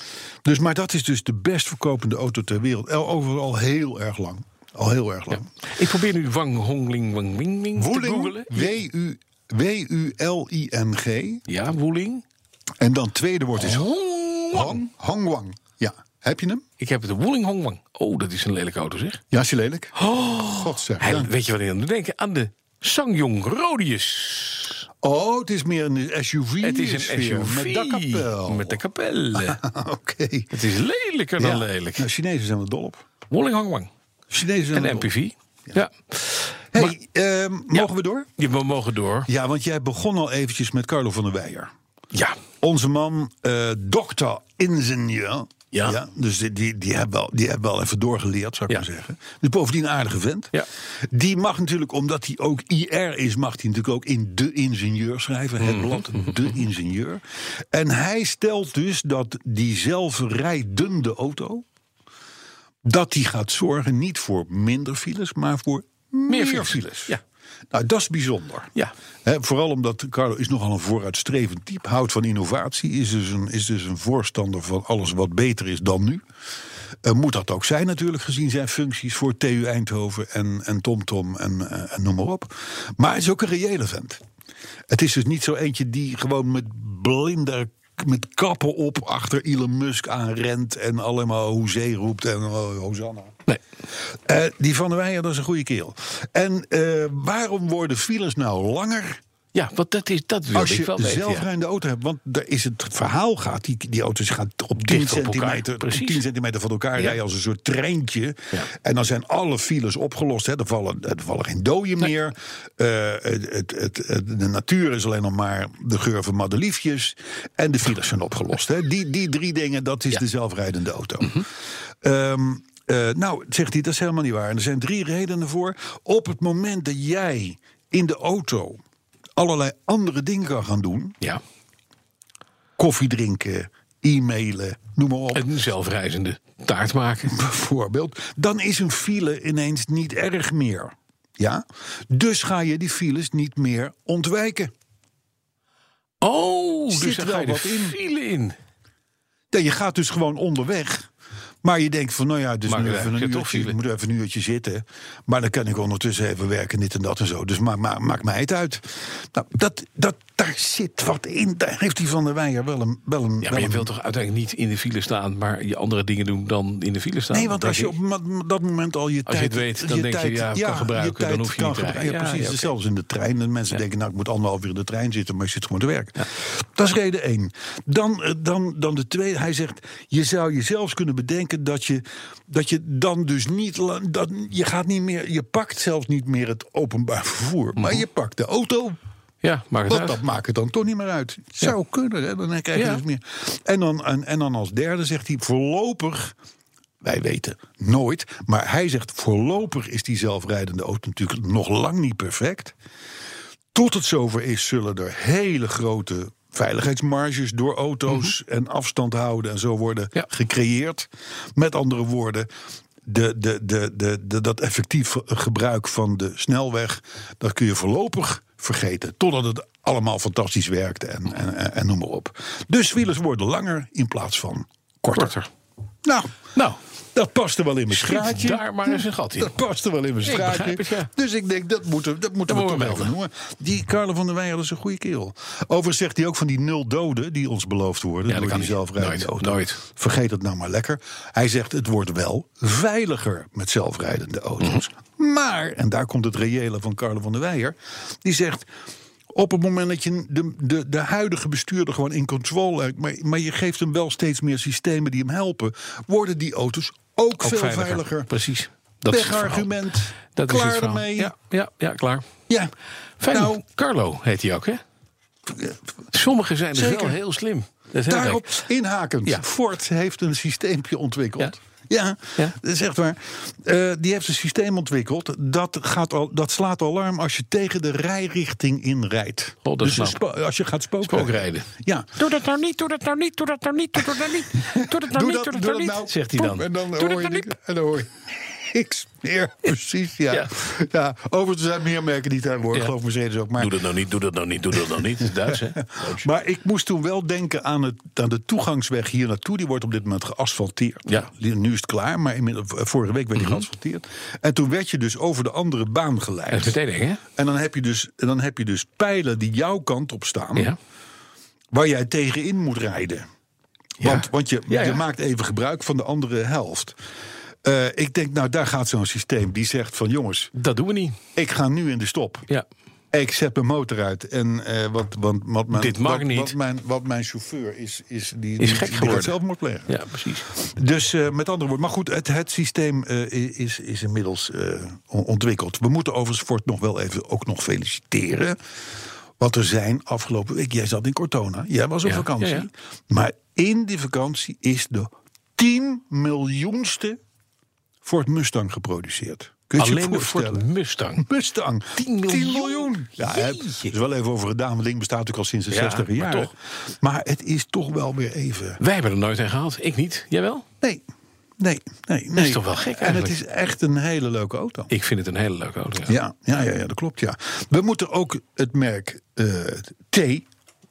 Dus, maar dat is dus de best verkopende auto ter wereld. El- Overal heel erg lang. Al heel erg lang.
Ik probeer nu Wang Hongling Wang Wing Wing te
Woeling,
googelen.
W-U- W-U-L-I-N-G.
Ja, Woeling.
En dan tweede woord is
Hong.
Hong. Hongwang. Ja, heb je hem?
Ik heb het de Woeling Hong Wang. Oh, dat is een lelijke auto zeg.
Ja, is hij lelijk? Godzijdank.
Oh, Hij- Weet je wat ik aan moet denken? Aan de Sangyong Rodius.
Oh, het is meer een SUV.
Het is een
sfeer,
SUV
Met dakkapel.
Met de kapelle.
[laughs] Oké.
het is lelijker dan
Ja.
lelijk.
Nou, Chinezen zijn er dol op.
Wolling Hong Wang.
Chinezen zijn
En
er dol op.
MPV. Ja.
Hey,
Maar-
ehm, mogen we door?
Ja, we mogen door.
Ja, want jij begon al eventjes met Carlo van der Weijer.
Ja.
Onze man, eh dokter ingenieur
Ja.
Ja, dus die, die, die, hebben wel, die hebben wel even doorgeleerd, zou ik
Ja.
maar zeggen. Dus bovendien een aardige vent.
Ja.
Die mag natuurlijk, omdat hij ook IR is, mag hij natuurlijk ook in De Ingenieur schrijven. Het
Mhm.
blad De Ingenieur. En hij stelt dus dat die zelfrijdende auto... dat die gaat zorgen niet voor minder files, maar voor meer,
files.
files.
Ja.
Nou, dat is bijzonder.
Ja.
Hè, vooral omdat Carlo is nogal een vooruitstrevend type. Houdt van innovatie. Is dus een, is dus een voorstander van alles wat beter is dan nu. Eh, moet dat ook zijn natuurlijk, gezien zijn functies voor TU Eindhoven en, en TomTom en, eh, en noem maar op. Maar het is ook een reële vent. Het is dus niet zo eentje die gewoon met blinder met kappen op achter Elon Musk aanrent en alleen maar hoezee roept en oh, Hosanna.
Nee.
Eh, die Van der Weijer, dat is een goede kerel. En eh, waarom worden files nou langer
Ja, want dat, is, dat wilde
als
ik wel
je
weten. ja.
zelfrijdende auto hebt? Want daar is het verhaal gaat, die, die auto's gaan op 10,
Dicht op elkaar,
centimeter, op
precies.
10 centimeter van elkaar
Ja.
rijden als een soort treintje.
Ja.
En dan zijn alle files opgelost. Hè. Er, vallen, er vallen geen doden meer. Eh, het, het, het- het- de natuur is alleen nog maar de geur van madeliefjes. En de files zijn opgelost. Hè. Die, die drie dingen, dat is de zelfrijdende auto.
Mhm.
Ehm, eh, nou, zegt hij, dat is helemaal niet waar. En er zijn drie redenen voor. Op het moment dat jij in de auto allerlei andere dingen kan gaan doen,
Ja,
koffie drinken, e-mailen, noem maar op,
een zelfreizende taart maken.
[laughs] bijvoorbeeld, dan is een file ineens niet erg meer. Ja? Dus ga je die files niet meer ontwijken.
Oh,
Zit
dus daar
wel
ga je de
wat in.
file in.
Ja, je gaat dus gewoon onderweg. Maar je denkt van, nou ja, dus
Maak
nu
het
even
eigenlijk
een
geen
uurtje,
tochtje.
ik moet even een uurtje zitten. Maar dan kan ik ondertussen even werken, dit en dat en zo. Dus ma ma maakt mij het uit. Nou, dat, dat, daar zit wat in. Daar heeft die Van der Weijer wel een... Wel een
Ja,
wel
maar je
een-
wilt toch uiteindelijk niet in de file staan, maar je andere dingen doen dan in de file staan?
Nee, want als je
denk
op
ik.
ma- dat moment al je tijd...
Als je het weet, dan denk je, ja, kan gebruiken, dan hoef je niet te
gebru-
rijden.
Ja,
Ja,
precies.
ja,
Dus
oké.
Zelfs in de trein. En mensen denken, nou, ik moet anderhalf uur in de trein zitten... maar je zit gewoon te werk. Dat is reden één. Dan, eh, dan, dan de tweede. Hij zegt, je zou jezelf kunnen bedenken... dat je, dat je dan dus niet... la- Dat, je, gaat niet meer, je pakt zelfs niet meer het openbaar vervoer...
Mhm.
maar je pakt de auto...
Ja, maak het
Want
uit.
dat maakt het dan toch niet meer uit. Zou kunnen, hè? dan krijg je
Ja.
dus meer. En dan, en, en dan als derde zegt hij voorlopig. Wij weten nooit, maar hij zegt voorlopig is die zelfrijdende auto natuurlijk nog lang niet perfect. Tot het zover is, zullen er hele grote veiligheidsmarges door auto's en afstand houden en zo worden
Mhm. Ja.
gecreëerd. Met andere woorden, de, de, de, de, de- dat effectief gebruik van de snelweg, dat kun je voorlopig vergeten. Totdat het allemaal fantastisch werkt en, en, en, en noem maar op. Dus files worden langer in plaats van korter.
Korter.
Nou,
Nou,
dat past er wel in mijn
Schiet
straatje.
daar maar eens een gat in.
Dat past er wel in mijn
Ik
straatje.
begrijp het, ja.
Dus ik denk, dat moeten, we- dat moeten
Dat
we
moeten
toch
we
even noemen. Die Carlo van der Weijer dat is een goede kerel. Overigens zegt hij ook van die nul doden die ons beloofd worden...
dat
door
kan
die
niet.
zelfrijdende
Nooit,
auto.
nooit.
Vergeet het nou maar lekker. Hij zegt, het wordt wel veiliger met zelfrijdende auto's.
Mhm.
Maar, en daar komt het reële van Carlo van der Weijer... die zegt... Op het moment dat je de, de, de huidige bestuurder gewoon in controle hebt, maar, maar je geeft hem wel steeds meer systemen die hem helpen, worden die auto's ook,
ook
veel
veiliger.
veiliger.
Precies. Dat
Dat
is het verhaal.
argument.
Dat is
klaar
het verhaal.
ermee.
Ja, ja, ja, klaar.
Ja.
Fijn.
Nou,
Carlo heet hij ook, hè? Sommigen zijn dus
Zeker.
wel heel slim. Dat is heel
daarop
leuk.
inhakend.
Ja.
Ford heeft een systeempje ontwikkeld.
Ja.
Ja. Ja,
Ja.
dat is echt waar. Eh, die heeft een systeem ontwikkeld. Dat, gaat al, dat slaat alarm als je tegen de rijrichting inrijdt.
Oh, dat is
dus een
knap.
spo- als je gaat spookrijden.
Spookrijden.
Ja.
Doe dat nou niet, doe dat nou niet, doe dat nou niet, doe dat nou niet. Doe dat nou
Doe
niet,
dat,
doe dat
doe dat
nou niet.
nou.
zegt hij
Poep,
dan.
En dan
Doe dat
hoor je,
nou
die-
niet.
en dan hoor je [laughs] niks meer. Precies, ja.
Ja.
ja. Overigens er zijn meer merken die het aanwoorden.
Ja.
Geloof Mercedes ook. Maar
Doe dat nou niet, doe dat nou niet, doe dat nou niet.
[laughs]
Het is Duits, hè? Duits.
Maar ik moest toen wel denken aan, het, aan de toegangsweg hier naartoe. Die wordt op dit moment geasfalteerd.
Ja. Mhm.
Die- Nu is het klaar, maar inmiddels- eh, vorige week werd die geasfalteerd. En toen werd je dus over de andere baan
Dat is
geleid.
meteen eng, hè?
En dan heb je dus, en dan heb je dus pijlen die jouw kant op staan.
Ja.
Waar jij tegenin moet rijden.
Ja.
Want, want je,
Ja, ja.
je maakt even gebruik van de andere helft. Eh, ik denk, nou daar gaat zo'n systeem. Die zegt van jongens,
Dat doen we niet.
ik ga nu in de stop.
Ja.
Ik zet mijn motor uit. En eh wat, want, wat mijn,
Dit mag
wat,
niet.
Wat mijn, wat mijn chauffeur is, is die, die-
gek
die gaat
geworden.
zelfmoord plegen.
Ja, precies.
Dus eh, met andere woorden, maar goed, het, het systeem eh, is, is inmiddels eh, on- ontwikkeld. We moeten overigens Ford nog wel even ook nog feliciteren. Want er zijn afgelopen week, jij zat in Cortona, jij was op
Ja,
vakantie.
ja, ja.
Maar in die vakantie is de 10 miljoenste Ford Mustang geproduceerd. Kun je
Alleen
je
maar voor
voorstellen?
de Mustang.
Mustang.
10 miljoen?
Ja, hè, er is wel even over gedaan. want Het ding bestaat natuurlijk al sinds de
Ja,
60
maar
jaar.
toch.
maar het is toch wel weer even...
Wij hebben er nooit aan gehad. Ik niet. Jij wel?
Nee, nee, nee. nee.
is toch wel gek
En het
eigenlijk?
is echt een hele leuke auto.
Ik vind het een hele leuke auto. ja.
Ja, ja, ja, ja dat klopt, ja. We moeten ook het merk eh, T...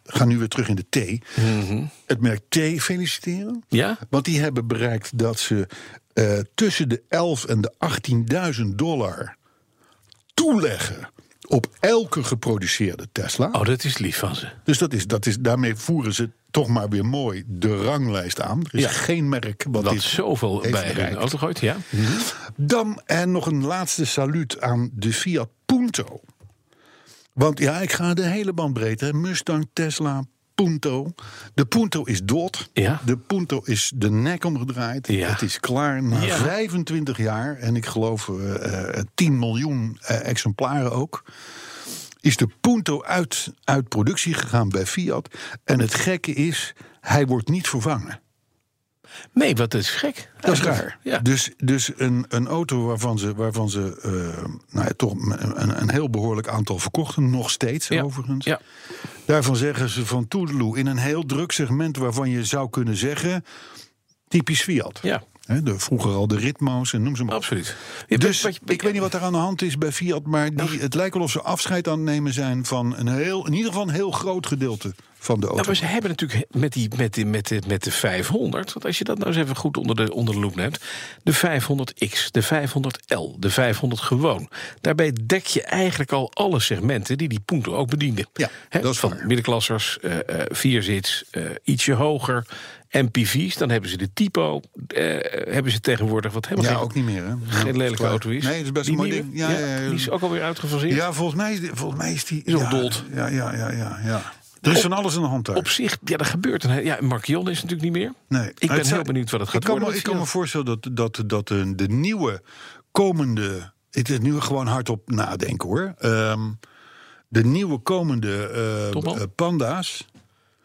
Gaan nu weer terug in de T.
Mhm.
Het merk T feliciteren.
Ja?
Want die hebben bereikt dat ze eh, tussen de 11 en de 18.000 dollar toeleggen op elke geproduceerde Tesla.
Oh, dat is lief van ze.
Dus dat is, dat is, daarmee voeren ze toch maar weer mooi de ranglijst aan. Er is
Ja.
geen merk wat
Dat
dit
zoveel
heeft
bij hun
bereikt.
auto gooit. Ja.
Dan en nog een laatste saluut aan de Fiat Punto. Want ja, ik ga de hele band breed. Hè. Mustang, Tesla, Punto. De Punto is dood.
Ja.
De Punto is de nek omgedraaid.
Ja.
Het is klaar na
Ja.
25 jaar. En ik geloof eh, eh, 10 miljoen eh, exemplaren ook. Is de Punto uit, uit productie gegaan bij Fiat. En het gekke is, hij wordt niet vervangen.
Nee, wat is gek.
Dat is raar.
Ja.
Dus, dus een, een auto waarvan ze, waarvan ze eh, nou ja, toch een, een heel behoorlijk aantal verkochten, nog steeds
Ja.
overigens.
Ja.
Daarvan zeggen ze van Toedeloe in een heel druk segment waarvan je zou kunnen zeggen: typisch Fiat.
Ja.
Hè, de, vroeger al de ritmo's en noem ze maar. op.
Absoluut.
Dus ik weet niet wat er aan de hand is bij Fiat, maar
Nou.
die, het lijkt wel of ze afscheid aan het nemen zijn van een heel, in ieder geval een heel groot gedeelte van de
Nou,
auto.
maar ze hebben natuurlijk met, die, met, die, met, de, met de 500, want als je dat nou eens even goed onder de, onder de loep neemt, de 500X, de 500L, de 500 gewoon. Daarbij dek je eigenlijk al alle segmenten die die Punto ook bediende.
Ja,
Hè,
dat is
van
waar.
middenklassers, eh eh, vierzits, eh, ietsje hoger, MPV's, dan hebben ze de Tipo, eh, hebben ze tegenwoordig wat helemaal
ja,
geen-
ook niet meer. Hè?
geen lelijke auto is.
Nee, het is best
Die
een mooi
nieuwe,
ding. Ja, ja, ja.
Die is ook alweer uitgefaseerd.
Ja, volgens mij is, die- volgens mij is die...
Is
ja,
ontdold.
Ja, ja, ja, ja, ja. Er is van alles aan de hand daar.
Op zich, ja, dat gebeurt een he- Ja, Marquion is natuurlijk niet meer.
nee.
Ik ben
Het zou-
heel benieuwd wat het gaat
ik kan
worden.
Me,
met
ik kan me
Fiat.
voorstellen dat, dat, dat eh, de nieuwe komende... Het is nu gewoon hardop nadenken, hoor. Ehm, de nieuwe komende eh,
Topman?
eh, panda's...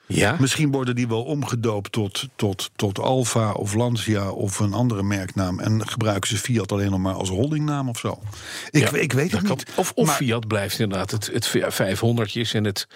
Ja.
Misschien worden die wel omgedoopt tot, tot, tot Alfa of Lancia of een andere merknaam. En gebruiken ze Fiat alleen nog maar als holdingnaam of zo. Ik,
Ja,
ik weet
dat
het
kan.
niet.
Of, of
Maar-
Fiat blijft inderdaad het, het 500 is en, het,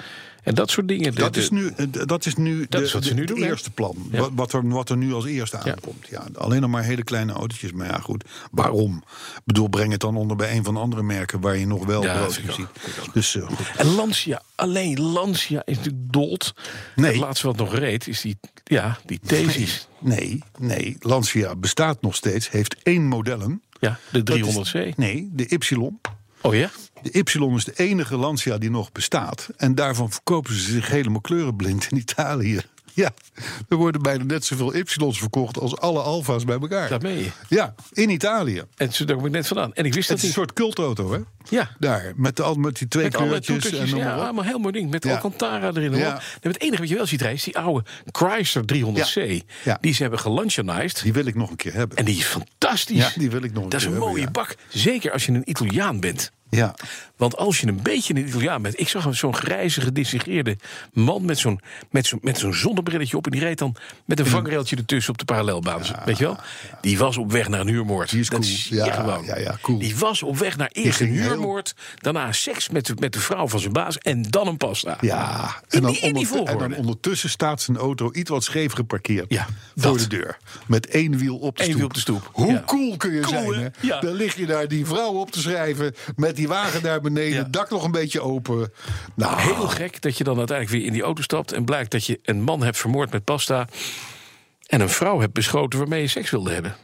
en dat soort dingen. De-
Dat
de-
is nu, eh, d- dat is nu
Dat
de-
is wat ze
de-
nu
het
doen, hè?
eerste plan.
Ja.
Wat, wat, er, wat er nu als eerste aankomt. Ja. alleen nog maar hele kleine autootjes. Maar ja, goed. Waarom? Ik bedoel, breng het dan onder bij een van de andere merken... waar je nog wel
Ja,
brood
vind
in
ik
ziet.
ook.
Dus eh, goed.
En Lancia, alleen Lancia is natuurlijk dood.
Nee.
Het laatste wat nog reed is die, ja, die thesis.
Nee, nee. Lancia bestaat nog steeds. Heeft één modellen.
Ja, de
Dat is-
300C.
Nee, de Y.
Oh ja?
De Y is de enige Lancia die nog bestaat. En daarvan verkopen ze zich helemaal kleurenblind in Italië. [laughs] Ja, er worden bijna net zoveel Y's verkocht als alle Alfa's bij elkaar.
Daar ben je.
Ja, in Italië.
En zo, daar kom ik net vandaan. En ik wist
Het
dat
is een
niet.
soort cultauto, hè?
Ja.
Daar, met, de, al- met die twee
Met alle
kleurtjes en
toetertjes.
noem maar
Ja,
op.
allemaal heel mooi ding. Met
Ja.
Alcantara erin. hoor.
Ja.
Nee, maar het enige wat je wel ziet rijden is die oude Chrysler 300C.
Ja.
Die ze hebben gelancionized.
Die wil ik nog een keer hebben.
En die is fantastisch.
Ja, die wil ik nog een
Dat is
keer
een
hebben,
mooie
ja.
bak. Zeker als je een Italiaan bent.
Ja,
Want als je een beetje een Italiaan bent... Ik zag hem zo'n grijze, gedissegeerde man met zo'n, met, zo'n, met zo'n zonnebrilletje op... en die reed dan met een vangrailtje ertussen op de parallelbaan. weet je wel? Die was op weg naar een huurmoord.
Die is
Dat
cool.
zie je
Ja,
gewoon.
ja, ja, cool.
Die was op weg naar eerst een
ging heel-
huurmoord... daarna seks met de, met de vrouw van zijn baas en dan een pasta.
ja.
In
En dan,
die- in die
ondert- en dan
volgorde.
ondertussen staat zijn auto iets wat scheef geparkeerd.
Ja,
voor
dat.
de deur. Met één wiel op de
Eén
stoep.
wiel op de stoep,
Hoe
ja.
cool kun je
Cool,
zijn, hè?
hè? Ja.
Dan lig je daar die vrouw op te schrijven... met die wagen daar beneden,
Ja.
het dak nog een beetje open. Nou,
Heel gek dat je dan uiteindelijk weer in die auto stapt... en blijkt dat je een man hebt vermoord met pasta... en een vrouw hebt beschoten waarmee je seks wilde hebben.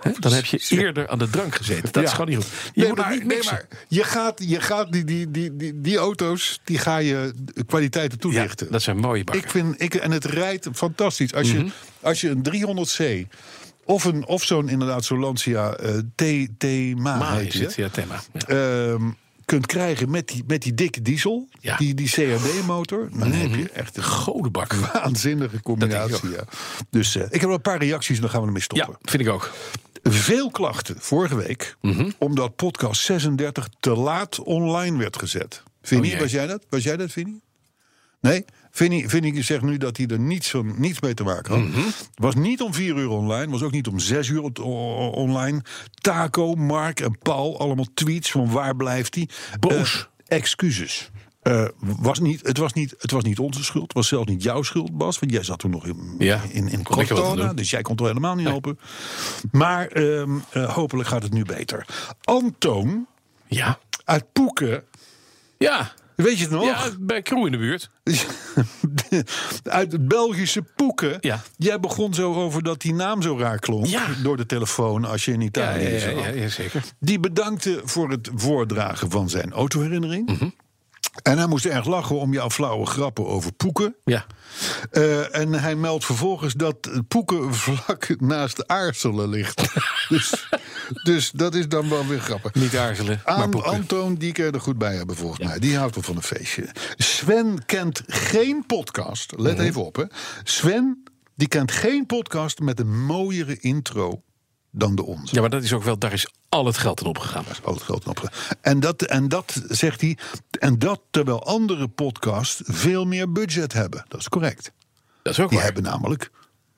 Hè? Dan heb je eerder aan de drank gezeten. Dat is
Ja.
gewoon niet goed. Je
Nee,
moet
maar,
het niet
nee,
mixen.
maar je gaat, je gaat die, die, die, die, die auto's, die ga je de kwaliteiten
Ja,
toelichten.
dat zijn mooie bakken.
Ik vind, ik, en het rijdt fantastisch. Als,
Mhm.
je, als je een 300C of, een, of zo'n inderdaad zo'n Lancia eh, T, T Ma
maar
heet
is
die,
het,
hè?
ja, thema. Ja.
Ehm, kunt krijgen met die, met die dikke diesel,
Ja. Mhm.
die, die CRD-motor. Dan heb je echt een
Godenbak.
waanzinnige combinatie. Ja. Dus eh, ik heb wel een paar reacties en dan gaan we ermee stoppen.
Ja, vind ik ook.
Veel klachten vorige week,
Mhm.
omdat podcast 36 te laat online werd gezet. Vinnie,
Oh jee.
was jij dat? Was jij dat, Vinnie? Nee, Vinnie, Vinnie zegt nu dat hij er niets, van, niets mee te maken had.
Mhm.
Was niet om vier uur online, was ook niet om zes uur on- on- online. Taco, Mark en Paul, allemaal tweets van waar blijft hij.
Boos.
Eh, excuses. Eh, was niet, het, was niet, het was niet onze schuld, het was zelfs niet jouw schuld, Bas. Want jij zat toen nog in,
Ja,
in, in
kon ik er wat aan
Cortona,
doen.
dus jij kon er helemaal niet helpen. Maar ehm, eh, hopelijk gaat het nu beter. Antoon
Ja.
uit Poeken,
Ja.
weet je het nog?
Ja, bij Crew in de buurt.
[laughs] Uit het Belgische Poeken.
Ja.
Jij begon zo over dat die naam zo raar klonk.
Ja.
Door de telefoon als je in
Ja,
Italië
ja, ja,
zat.
ja, ja, zeker.
Die bedankte voor het voordragen van zijn autoherinnering.
Mhm.
En hij moest erg lachen om jouw flauwe grappen over Poeken.
Ja.
Eh, en hij meldt vervolgens dat Poeken vlak [laughs] naast Aarselen ligt. [laughs] dus, dus dat is dan wel weer grappig.
Niet aarzelen, maar
Aan
boeken.
Antoon, die kan je er goed bij hebben volgens mij. Die houdt wel van een feestje. Sven kent geen podcast. Let
Mhm.
even op, hè. Sven, die kent geen podcast met een mooiere intro dan de onze.
Ja, maar dat is ook wel, daar is al het geld in opgegaan.
Al het geld op. En dat, en dat zegt hij. En dat terwijl andere podcasts veel meer budget hebben. Dat is correct.
Dat is ook
Die
waar.
hebben namelijk,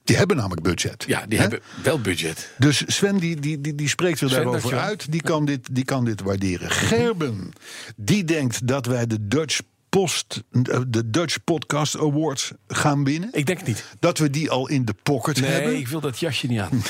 die hebben namelijk budget.
Ja, die
Hè?
hebben wel budget.
Dus Sven die, die, die, die spreekt er
Sven,
daarover
dankjewel.
uit. Die kan, dit, die kan dit waarderen. Gerben, die denkt dat wij de Dutch, Post, eh, de Dutch Podcast Awards gaan winnen.
Ik denk het niet.
Dat we die al in de pocket
Nee,
hebben.
ik wil dat jasje niet aan.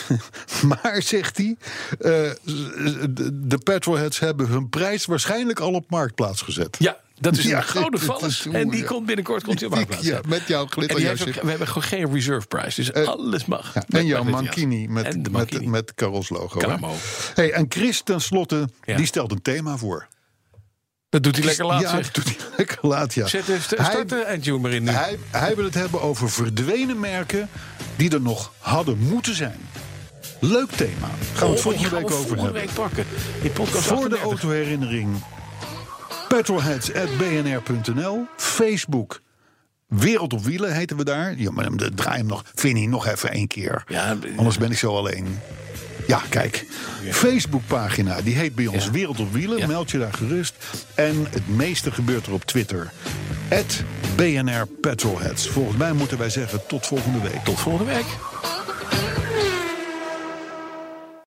[laughs] Maar, zegt hij, eh, de- de petrolheads hebben hun prijs waarschijnlijk al op marktplaats gezet.
Ja, dat is
[laughs] Ja,
een gouden
dit is
vallen.
hoe,
En die
ja.
komt binnenkort komt die op
Die-
marktplaats.
[laughs] ja, met jouw
En die heeft
glitterjasje.
ook- We hebben gewoon geen reserve price, dus alles mag.
Ja,
Met-
en jouw
met dit jas.
mankini met,
En de
met,
mankini.
met Carol's logo. hè?
Caramo.
Hey, en Chris tenslotte,
Ja.
die stelt een thema voor.
Dat doet hij lekker laat,
ja, [laughs]
zeg.
doet hij lekker laat, ja.
Zet de, st-
Hij-
start de eindtune maar in nu.
Hij, hij wil het hebben over verdwenen merken die er nog hadden moeten zijn. Leuk thema. Gaan we het
Oh, die
volgende
gaan
week
we
over
volgende
hebben.
week pakken. In podcast
Voor de
38.
autoherinnering. Petrolheads.bnr.nl. Facebook. Wereld op Wielen heten we daar. Ja, maar hem- draai hem nog. Vinnie, nog even één keer.
Ja, eh,
Anders ben ik zo alleen. Ja, kijk. Facebookpagina, die heet bij ons
Ja.
Wereld op Wielen.
Ja.
Meld je daar gerust. En het meeste gebeurt er op Twitter. At BNR Petrolheads. Volgens mij moeten wij zeggen tot volgende week.
Tot volgende week.